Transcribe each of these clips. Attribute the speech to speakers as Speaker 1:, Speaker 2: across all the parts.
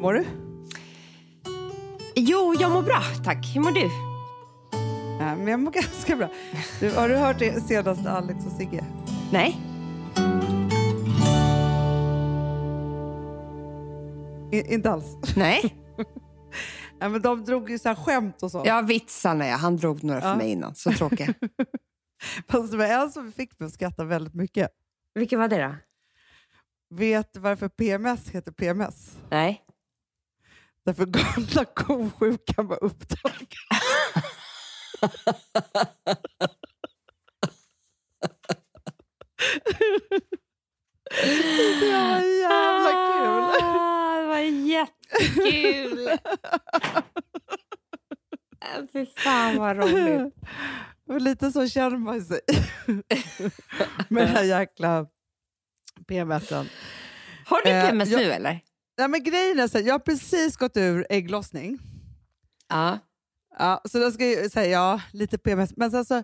Speaker 1: mår du?
Speaker 2: Jo, jag mår bra, tack. Hur mår du?
Speaker 1: Nej, men jag mår ganska bra. Du, har du hört det senaste Alex och Sigge?
Speaker 2: Nej.
Speaker 1: I, inte alls.
Speaker 2: Nej.
Speaker 1: Nej, men de drog ju så här skämt och så.
Speaker 2: Ja, vitsarna ja. Han drog några för
Speaker 1: Ja.
Speaker 2: mig innan. Så tråkiga.
Speaker 1: Fast det var en som fick mig att skratta väldigt mycket.
Speaker 2: Vilken var det då?
Speaker 1: Vet du varför PMS heter PMS?
Speaker 2: Nej.
Speaker 1: Därför galna ko-sjukan var upptagen. Det var jävla kul!
Speaker 2: Ah, det var jättekul! Äh, Fy fan vad roligt.
Speaker 1: Och lite så känner man sig med den här jäkla PMSen.
Speaker 2: Har du
Speaker 1: Eh,
Speaker 2: PMS
Speaker 1: jag-
Speaker 2: nu eller?
Speaker 1: Nej, men grejen är så här, jag har precis gått ur ägglossning.
Speaker 2: Ja.
Speaker 1: Ja, så då ska jag säga ja, lite PMS. Men sen så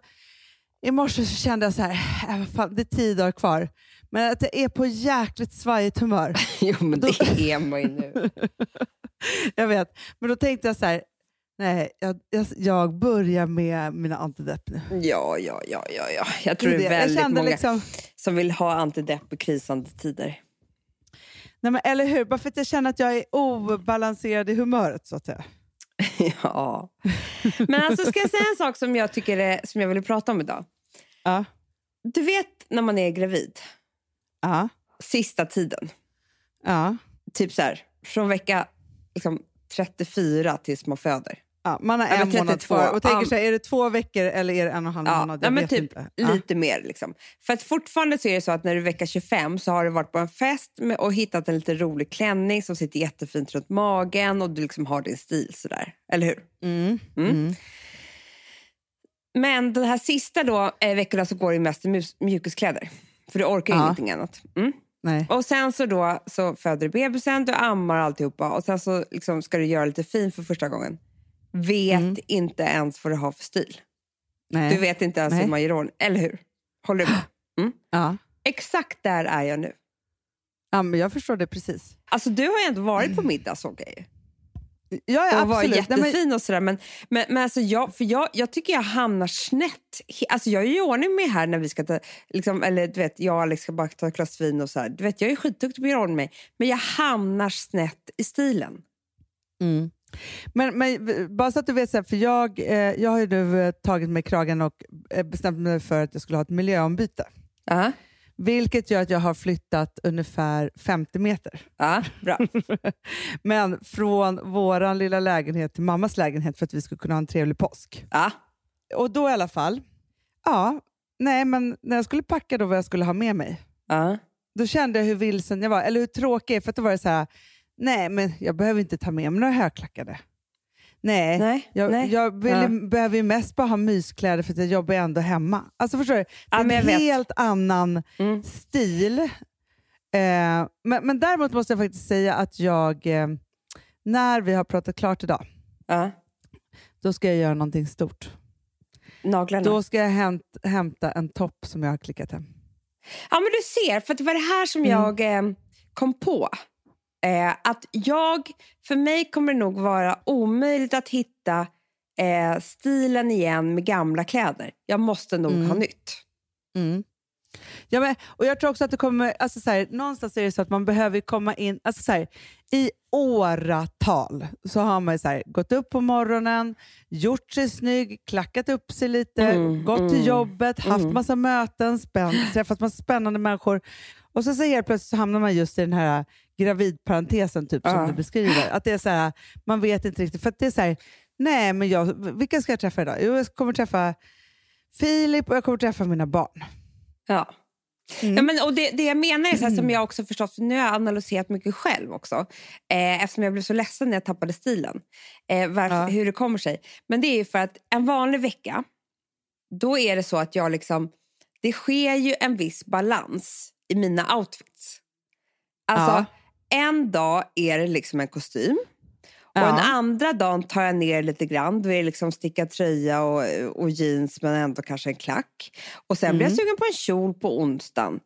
Speaker 1: i morse så kände jag så här, äh, vad fan, det är tio dagar kvar. Men att jag är på jäkligt svajigt humör.
Speaker 2: Jo, men det är man ju nu.
Speaker 1: jag vet. Men då tänkte jag så här, nej, jag, jag, jag börjar med mina antidepp nu.
Speaker 2: Ja, ja, ja, ja, ja. Jag tror det är
Speaker 1: Det- jag
Speaker 2: väldigt
Speaker 1: kände
Speaker 2: många
Speaker 1: liksom,
Speaker 2: som vill ha antidepp i krisande tider.
Speaker 1: nej men eller hur, bara för att jag känner att jag är obalanserad i humöret så att säga.
Speaker 2: Ja. Men alltså, ska jag säga en sak som jag, tycker är, som jag ville prata om idag?
Speaker 1: Ja.
Speaker 2: Du vet när man är gravid,
Speaker 1: Ja.
Speaker 2: sista tiden.
Speaker 1: Ja.
Speaker 2: Typ så här, från vecka liksom, 34 tills man föder.
Speaker 1: Ja, man har
Speaker 2: Eller
Speaker 1: en månad
Speaker 2: 32.
Speaker 1: kvar och tänker
Speaker 2: Ja.
Speaker 1: sig, är det två veckor eller är det en och en halv
Speaker 2: Ja,
Speaker 1: månad? Jag
Speaker 2: nej, men
Speaker 1: vet
Speaker 2: typ
Speaker 1: inte. Ja.
Speaker 2: Lite mer. Liksom. För att fortfarande så är det så att när du är vecka 25 så har du varit på en fest med, och hittat en lite rolig klänning som sitter jättefint runt magen och du liksom har din stil sådär. Eller hur?
Speaker 1: Mm.
Speaker 2: Mm.
Speaker 1: Mm.
Speaker 2: Men den här sista då, eh, veckorna så går det ju mest i mus- mjukiskläder. För du orkar ju
Speaker 1: Ja.
Speaker 2: ingenting annat. Mm.
Speaker 1: Nej.
Speaker 2: Och sen så då så föder du bebisen, du ammar alltihopa och sen så liksom ska du göra lite fin för första gången. Vet
Speaker 1: Mm.
Speaker 2: inte ens vad du har för stil.
Speaker 1: Nej.
Speaker 2: Du vet inte ens
Speaker 1: Nej.
Speaker 2: hur man gör ordning, eller hur? Håller du med?
Speaker 1: Ja.
Speaker 2: Exakt där är jag nu.
Speaker 1: ja, men jag förstår det precis.
Speaker 2: Alltså du har ju ändå varit på middag såg jag ju.
Speaker 1: Ja, ja
Speaker 2: och var
Speaker 1: absolut. Nej,
Speaker 2: jättefin
Speaker 1: men-
Speaker 2: och sådär. Men, men, men alltså jag, för jag, jag tycker jag hamnar snett. He- Alltså jag är ju i ordning med här när vi ska ta, liksom, eller du vet, jag och Alex ska bara ta ett glas vin och så här. Du vet, jag är skitduktig på att göra ordning med mig, men jag hamnar snett i stilen.
Speaker 1: Mm. Men, men v- bara så att du vet, så här, för jag, eh, jag har ju nu eh, tagit mig i kragen och eh, bestämt mig för att jag skulle ha ett miljöombyte.
Speaker 2: Ja,
Speaker 1: Vilket gör att jag har flyttat ungefär 50 meter.
Speaker 2: ja, bra.
Speaker 1: Men från vår lilla lägenhet till mammas lägenhet för att vi skulle kunna ha en trevlig påsk.
Speaker 2: Ja.
Speaker 1: Och då i alla fall, ja, nej men när jag skulle packa då vad jag skulle ha med mig.
Speaker 2: Ja.
Speaker 1: då kände jag hur vilsen jag var, eller hur tråkig jag är, för att då var det så här, nej men jag behöver inte ta med mig några högklackade. Nej,
Speaker 2: Nej,
Speaker 1: jag,
Speaker 2: nej.
Speaker 1: jag vill,
Speaker 2: Ja.
Speaker 1: behöver ju mest bara ha myskläder för att jag jobbar ju ändå hemma. Alltså förstår du? Det
Speaker 2: Ja,
Speaker 1: är
Speaker 2: men jag
Speaker 1: en
Speaker 2: vet.
Speaker 1: helt annan
Speaker 2: Mm.
Speaker 1: stil. Eh, men, men däremot måste jag faktiskt säga att jag, eh, när vi har pratat klart idag,
Speaker 2: ja.
Speaker 1: då ska jag göra någonting stort.
Speaker 2: Naglarna.
Speaker 1: Då ska jag hämt, hämta en topp som jag har klickat hem.
Speaker 2: Ja, men du ser, för att det var det här
Speaker 1: Mm.
Speaker 2: som jag eh, kom på. Eh, att jag, för mig kommer det nog vara omöjligt att hitta eh, stilen igen med gamla kläder. Jag måste nog ha nytt.
Speaker 1: Mm. Ja, men, och jag tror också att det kommer, alltså så här, någonstans är det så att man behöver komma in, alltså så här, i åratal så har man ju så här, gått upp på morgonen, gjort sig snygg, klackat upp sig lite,
Speaker 2: Mm,
Speaker 1: gått
Speaker 2: mm,
Speaker 1: till jobbet, haft massa möten, spänt, träffat massa spännande människor. Och så, så helt plötsligt så hamnar man just i den här gravidparentesen typ, som
Speaker 2: Ja.
Speaker 1: du beskriver. Att det är så här, man vet inte riktigt. För att det är så här, nej men jag, vilka ska jag träffa idag? Jo, jag kommer träffa Filip och jag kommer träffa mina barn.
Speaker 2: Ja.
Speaker 1: Mm.
Speaker 2: Ja, men, och det, det jag menar är så här, som jag också förstått, för nu har jag analyserat mycket själv också. Eh, eftersom jag blev så ledsen när jag tappade stilen. Eh, varför,
Speaker 1: Ja.
Speaker 2: Hur det kommer sig. Men det är ju för att en vanlig vecka, då är det så att jag liksom, det sker ju en viss balans i mina outfits. Alltså, en dag är det liksom en kostym.
Speaker 1: Ja.
Speaker 2: Och den andra dagen tar jag ner lite grann. Då är det liksom stickad tröja och, och jeans men ändå kanske en klack. Och sen
Speaker 1: Mm.
Speaker 2: blir jag sugen på en kjol på onsdagen.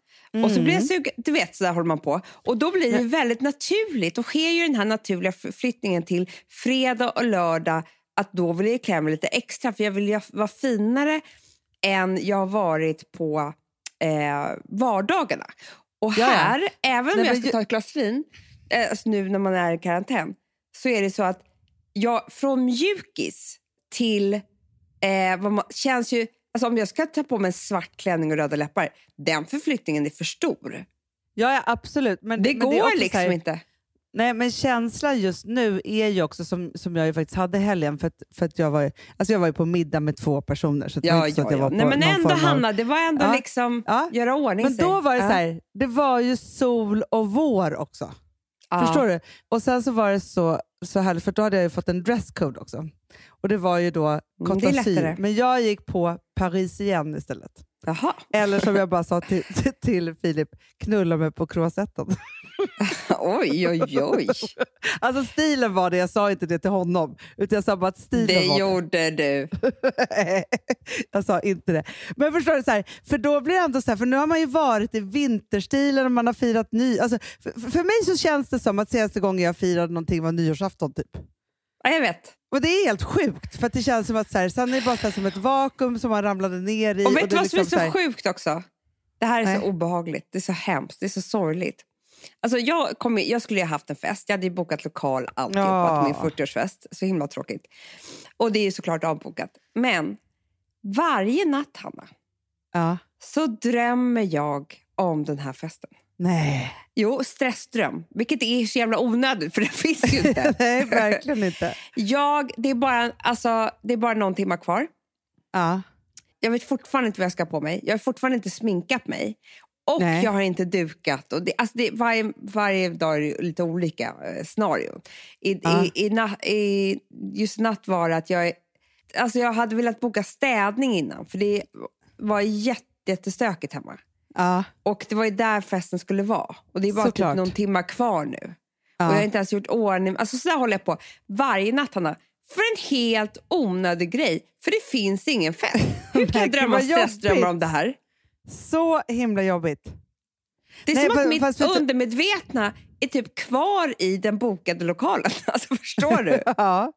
Speaker 2: Och så blir jag sugen, du vet så där håller man på. Och då blir det ju väldigt naturligt. Då sker ju den här naturliga flyttningen till fredag och lördag. Att då vill jag klä mig lite extra för jag vill ju vara finare än jag har varit på eh, vardagarna. Och
Speaker 1: Ja, ja.
Speaker 2: här, även om
Speaker 1: Nej,
Speaker 2: jag
Speaker 1: men
Speaker 2: ska
Speaker 1: ju-
Speaker 2: ta ett glas vin eh, alltså nu när man är i karantän så är det så att jag från mjukis till eh, vad man, känns ju... Alltså om jag ska ta på mig en svart klänning och röda läppar, den förflyttningen är för stor.
Speaker 1: Ja, ja, absolut. Men,
Speaker 2: Det
Speaker 1: men
Speaker 2: går
Speaker 1: är också så
Speaker 2: liksom
Speaker 1: här-
Speaker 2: inte.
Speaker 1: Nej, men känslan just nu är ju också som, som jag ju faktiskt hade i helgen. För att, för att jag, var, alltså jag var ju på middag med två personer. Så det var
Speaker 2: Ja,
Speaker 1: inte så att jag
Speaker 2: ja, ja.
Speaker 1: var på
Speaker 2: Nej, men
Speaker 1: någon
Speaker 2: ändå
Speaker 1: form av-
Speaker 2: Hanna, det var ändå
Speaker 1: Ja.
Speaker 2: liksom
Speaker 1: Ja.
Speaker 2: göra ordning
Speaker 1: Men
Speaker 2: sig.
Speaker 1: då var det
Speaker 2: Ja.
Speaker 1: så här, det var ju sol och vår också.
Speaker 2: Ja.
Speaker 1: Förstår du? Och sen så var det så, så härligt, för då hade jag ju fått en dresscode också. Och det var ju då
Speaker 2: Mm, det är
Speaker 1: Côte d'Azur.
Speaker 2: lättare.
Speaker 1: Men jag gick på Paris igen istället.
Speaker 2: Jaha.
Speaker 1: Eller som jag bara sa till, till, till Filip, knulla mig på croissetten.
Speaker 2: Oj, oj, oj.
Speaker 1: Alltså stilen var det, jag sa inte det till honom. Utan jag sa bara att stilen
Speaker 2: Det
Speaker 1: var det.
Speaker 2: gjorde du.
Speaker 1: jag sa inte det. Men förstår du, så här, för då blir det ändå så här, för nu har man ju varit i vinterstilen och man har firat ny... Alltså, för, för mig så känns det som att senaste gången jag firade någonting var nyårsafton typ.
Speaker 2: Ja, jag vet.
Speaker 1: Och det är helt sjukt, för att det känns som att så här, sen är det bara så här, som ett vakuum som man ramlade ner i.
Speaker 2: Och vet
Speaker 1: det liksom
Speaker 2: du vad som är så
Speaker 1: här-
Speaker 2: sjukt också? Det här är
Speaker 1: Nej.
Speaker 2: så obehagligt, det är så hemskt, det är så sorgligt. Alltså jag, kom, i- jag skulle ju ha haft en fest, jag hade ju bokat lokal alltihopa
Speaker 1: Ja.
Speaker 2: till min 40-årsfest. Så himla tråkigt. Och det är ju såklart avbokat. Men varje natt, Hanna,
Speaker 1: Ja.
Speaker 2: så drömmer jag om den här festen.
Speaker 1: Nej.
Speaker 2: Jo, stressdröm, vilket är så jävla onödigt för det finns ju inte.
Speaker 1: Nej, verkligen inte.
Speaker 2: jag, det, är bara, alltså, det är bara någon timma kvar.
Speaker 1: Ja.
Speaker 2: Jag vet fortfarande inte vad jag ska ha på mig. Jag har fortfarande inte sminkat mig. Och
Speaker 1: Nej.
Speaker 2: jag har inte dukat. Och det, alltså det, varje, varje dag är det lite olika eh, scenarion. I,
Speaker 1: Ja.
Speaker 2: i, i, na, i, just natt var det att jag... är- Alltså jag hade velat boka städning innan, för det var jätte, jättestökigt hemma.
Speaker 1: Ja.
Speaker 2: Och Det var ju där festen skulle vara. Och Det är bara typ
Speaker 1: Såklart.
Speaker 2: någon timma kvar nu.
Speaker 1: Ja.
Speaker 2: Och Jag har inte ens gjort ordning. Alltså så där håller jag på varje natt, Hanna. För en helt onödig grej. För det finns ingen fest. Hur kan jag
Speaker 1: Verkligen,
Speaker 2: drömma
Speaker 1: vad
Speaker 2: stressdrömmar
Speaker 1: jobbigt.
Speaker 2: om det här?
Speaker 1: Så himla jobbigt.
Speaker 2: Det är
Speaker 1: Nej,
Speaker 2: som att
Speaker 1: fa-
Speaker 2: mitt
Speaker 1: fast vet du-
Speaker 2: undermedvetna är typ kvar i den bokade lokalen. Alltså förstår du?
Speaker 1: Ja.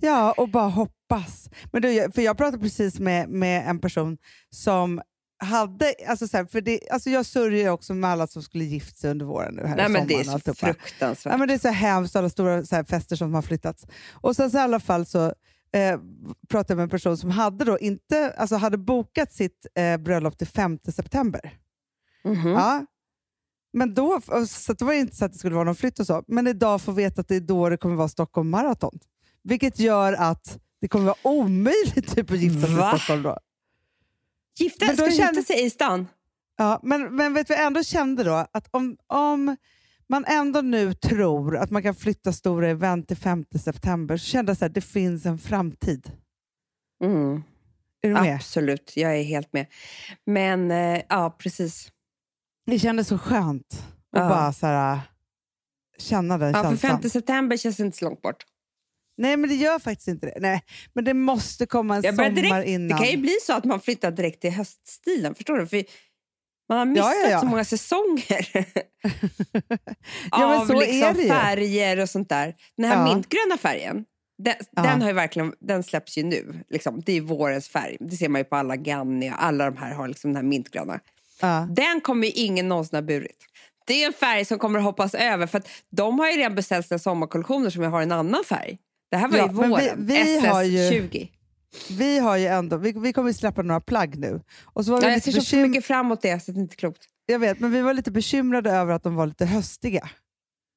Speaker 1: ja, och bara hoppas. Men du, jag- för jag pratade precis med, med en person som hade... Alltså så här, för det, alltså jag sörjer ju också med alla som skulle gift sig under våren nu här
Speaker 2: Nej
Speaker 1: i sommaren.
Speaker 2: men det är
Speaker 1: och
Speaker 2: så
Speaker 1: alltihopa.
Speaker 2: fruktansvärt.
Speaker 1: Ja, men det är så hemskt, alla stora så här, fester som har flyttats. Och sen så i alla fall så eh, pratade jag med en person som hade, då inte, alltså hade bokat sitt eh, bröllop till 5 september.
Speaker 2: Mhm.
Speaker 1: Ja. Men då, så att det var ju inte så att det skulle vara någon flytt och så. Men idag får vi veta att det är då det kommer vara Stockholm Marathon. Vilket gör att det kommer vara omöjligt typ, att gifta sig
Speaker 2: Va?
Speaker 1: i Stockholm då.
Speaker 2: Gifta,
Speaker 1: Men då
Speaker 2: ska du
Speaker 1: känner-
Speaker 2: gifta sig i stan?
Speaker 1: Ja, men, men vet vi ändå kände då att om, om man ändå nu tror att man kan flytta stora event till 5 september så kände jag så här, det finns en framtid.
Speaker 2: Mm.
Speaker 1: Är du med?
Speaker 2: Absolut, jag är helt med. Men eh, ja, precis.
Speaker 1: Det kändes så skönt att
Speaker 2: Ja.
Speaker 1: bara så här, äh, känna den
Speaker 2: Ja, för
Speaker 1: känslan.
Speaker 2: 5 september känns inte så långt bort.
Speaker 1: Nej, men det gör faktiskt inte det. Nej, men det måste komma en
Speaker 2: Jag
Speaker 1: sommar
Speaker 2: börjar direkt,
Speaker 1: innan.
Speaker 2: det kan ju bli så att man flyttar direkt till höststilen. Förstår du? För man har missat
Speaker 1: Ja, ja, ja.
Speaker 2: så många säsonger
Speaker 1: Ja, men
Speaker 2: av
Speaker 1: så är
Speaker 2: liksom
Speaker 1: det ju.
Speaker 2: färger och sånt där. Den här
Speaker 1: Ja.
Speaker 2: mintgröna färgen, den,
Speaker 1: Ja.
Speaker 2: den, har ju verkligen, den släpps ju nu. Liksom. Det är vårens färg. Det ser man ju på alla Ganni och alla de här har liksom den här mintgröna.
Speaker 1: Ja.
Speaker 2: Den kommer ju ingen någonsin ha burit. Det är en färg som kommer att hoppas över för att de har ju redan beställt sina sommarkollektioner som har en annan färg. Det här var
Speaker 1: Ja,
Speaker 2: ju
Speaker 1: men vi-
Speaker 2: våren.
Speaker 1: vi har ju-
Speaker 2: SS20.
Speaker 1: Vi, har ju ändå, vi, vi kommer ju släppa några plagg nu. Och så var vi
Speaker 2: Ja, jag
Speaker 1: lite
Speaker 2: ser så
Speaker 1: bekym-
Speaker 2: mycket fram emot det så det är inte klokt.
Speaker 1: jag vet, men vi var lite bekymrade över att de var lite höstiga.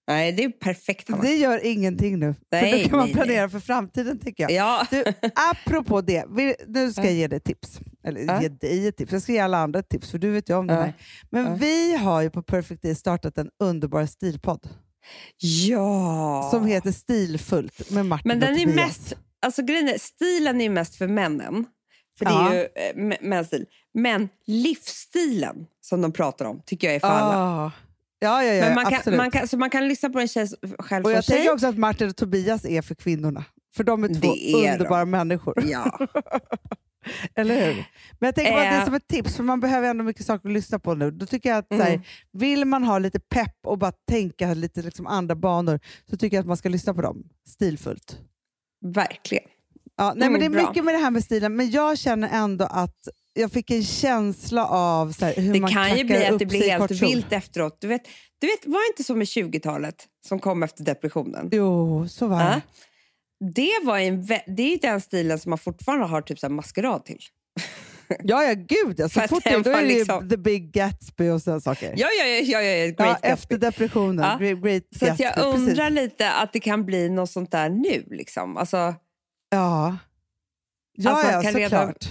Speaker 2: Nej, det är perfekt Hanna.
Speaker 1: Det gör ingenting nu. för
Speaker 2: Nej,
Speaker 1: då kan man
Speaker 2: nej,
Speaker 1: planera för framtiden tycker jag.
Speaker 2: Ja.
Speaker 1: Du, apropå det, vi, nu ska jag ge dig tips. Eller
Speaker 2: Ja.
Speaker 1: ge dig ett tips, jag ska ge alla andra ett tips för du vet ju om det
Speaker 2: Ja.
Speaker 1: här. Men
Speaker 2: Ja.
Speaker 1: vi har ju på Perfect Day startat en underbar stilpodd
Speaker 2: ja.
Speaker 1: som heter Stilfullt med Martin
Speaker 2: Men
Speaker 1: och
Speaker 2: den är
Speaker 1: Tobias.
Speaker 2: mest, alltså grejen är, stilen är ju mest för männen. För det är
Speaker 1: Ja.
Speaker 2: ju eh, mä- mäns stil. Men livsstilen som de pratar om tycker jag är för alla.
Speaker 1: Ah, Ja, ja, ja,
Speaker 2: Men man kan,
Speaker 1: absolut.
Speaker 2: man kan, så man kan lyssna på en tjej själv
Speaker 1: och
Speaker 2: som
Speaker 1: jag
Speaker 2: tjej.
Speaker 1: tänker också att Martin och Tobias är för kvinnorna. För de är två
Speaker 2: Det är de.
Speaker 1: underbara människor.
Speaker 2: Ja.
Speaker 1: Eller hur? Men jag tänker bara att det är
Speaker 2: Eh.
Speaker 1: som ett tips, för man behöver ändå mycket saker att lyssna på nu. Då tycker jag att så
Speaker 2: Mm.
Speaker 1: här, vill man ha lite pepp och bara tänka lite liksom andra banor så tycker jag att man ska lyssna på dem stilfullt.
Speaker 2: Verkligen.
Speaker 1: Ja, nej,
Speaker 2: Mm,
Speaker 1: men det är
Speaker 2: bra.
Speaker 1: mycket med det här med stilen, men jag känner ändå att jag fick en känsla av så här, hur
Speaker 2: Det
Speaker 1: man
Speaker 2: kan ju
Speaker 1: klackar
Speaker 2: bli att
Speaker 1: upp
Speaker 2: det blir
Speaker 1: sig i
Speaker 2: helt
Speaker 1: kort kjol.
Speaker 2: vilt efteråt. Du vet, du vet, var inte så med 20-talet som kom efter depressionen?
Speaker 1: Jo, så var
Speaker 2: Ja.
Speaker 1: det.
Speaker 2: Det, var en, vä- det är ju den stilen som man fortfarande har typ så här maskerad till.
Speaker 1: Ja, ja, gud. ja, Så
Speaker 2: För att
Speaker 1: fort det,
Speaker 2: den
Speaker 1: då är
Speaker 2: var
Speaker 1: det ju
Speaker 2: liksom-
Speaker 1: the big Gatsby och sådana saker.
Speaker 2: Ja, ja, ja. ja, ja great
Speaker 1: Ja,
Speaker 2: Gatsby.
Speaker 1: efter depressionen.
Speaker 2: Ja.
Speaker 1: Great, great
Speaker 2: Så att
Speaker 1: Gatsby,
Speaker 2: jag
Speaker 1: precis.
Speaker 2: undrar lite att det kan bli något sånt där nu. Liksom. Alltså,
Speaker 1: Ja, ja,
Speaker 2: Att man
Speaker 1: ja
Speaker 2: kan reda-
Speaker 1: såklart.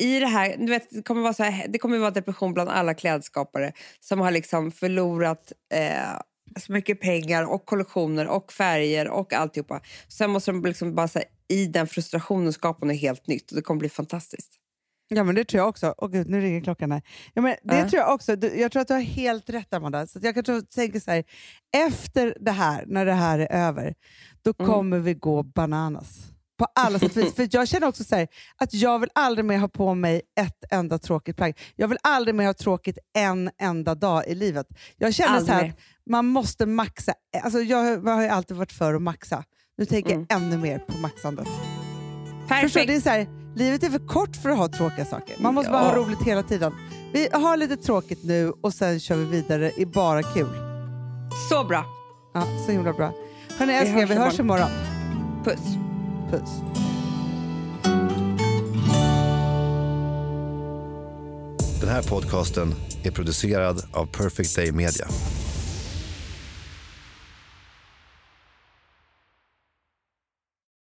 Speaker 2: i det här, du vet, det, kommer vara så här, det kommer vara depression bland alla klädskapare som har liksom förlorat eh, så mycket pengar och kollektioner och färger och alltihopa. Sen måste de liksom bara så här, i den frustrationen skapa något helt nytt och det kommer bli fantastiskt.
Speaker 1: Ja, men det tror jag också. Åh gud, nu ringer klockan här. Ja, men det
Speaker 2: Ja.
Speaker 1: tror jag också. Du, jag tror att du har helt rätt, Amanda. Så att jag kan tro, tänka så här, efter det här, när det här är över, då
Speaker 2: Mm.
Speaker 1: kommer vi gå bananas. På alla sätt och vis. För jag känner också så här, att jag vill aldrig mer ha på mig ett enda tråkigt plagg. Jag vill aldrig mer ha tråkigt en enda dag i livet. Jag känner så
Speaker 2: Aldrig
Speaker 1: här
Speaker 2: mer.
Speaker 1: att man måste maxa. Alltså jag, har- jag har ju alltid varit för att maxa. Nu tänker jag
Speaker 2: Mm.
Speaker 1: ännu mer på maxandet. Förstår, du?
Speaker 2: Perfekt!
Speaker 1: det är så här, livet är för kort för att ha tråkiga saker. Man måste
Speaker 2: Ja.
Speaker 1: bara ha roligt hela tiden. Vi har lite tråkigt nu och sen kör vi vidare i bara kul.
Speaker 2: Så bra!
Speaker 1: Ja, så himla bra. Hörni älsklingar,
Speaker 2: hörs
Speaker 1: vi hörs imorgon.
Speaker 2: Puss!
Speaker 1: Puss.
Speaker 3: Den här podcasten är producerad av Perfect Day Media.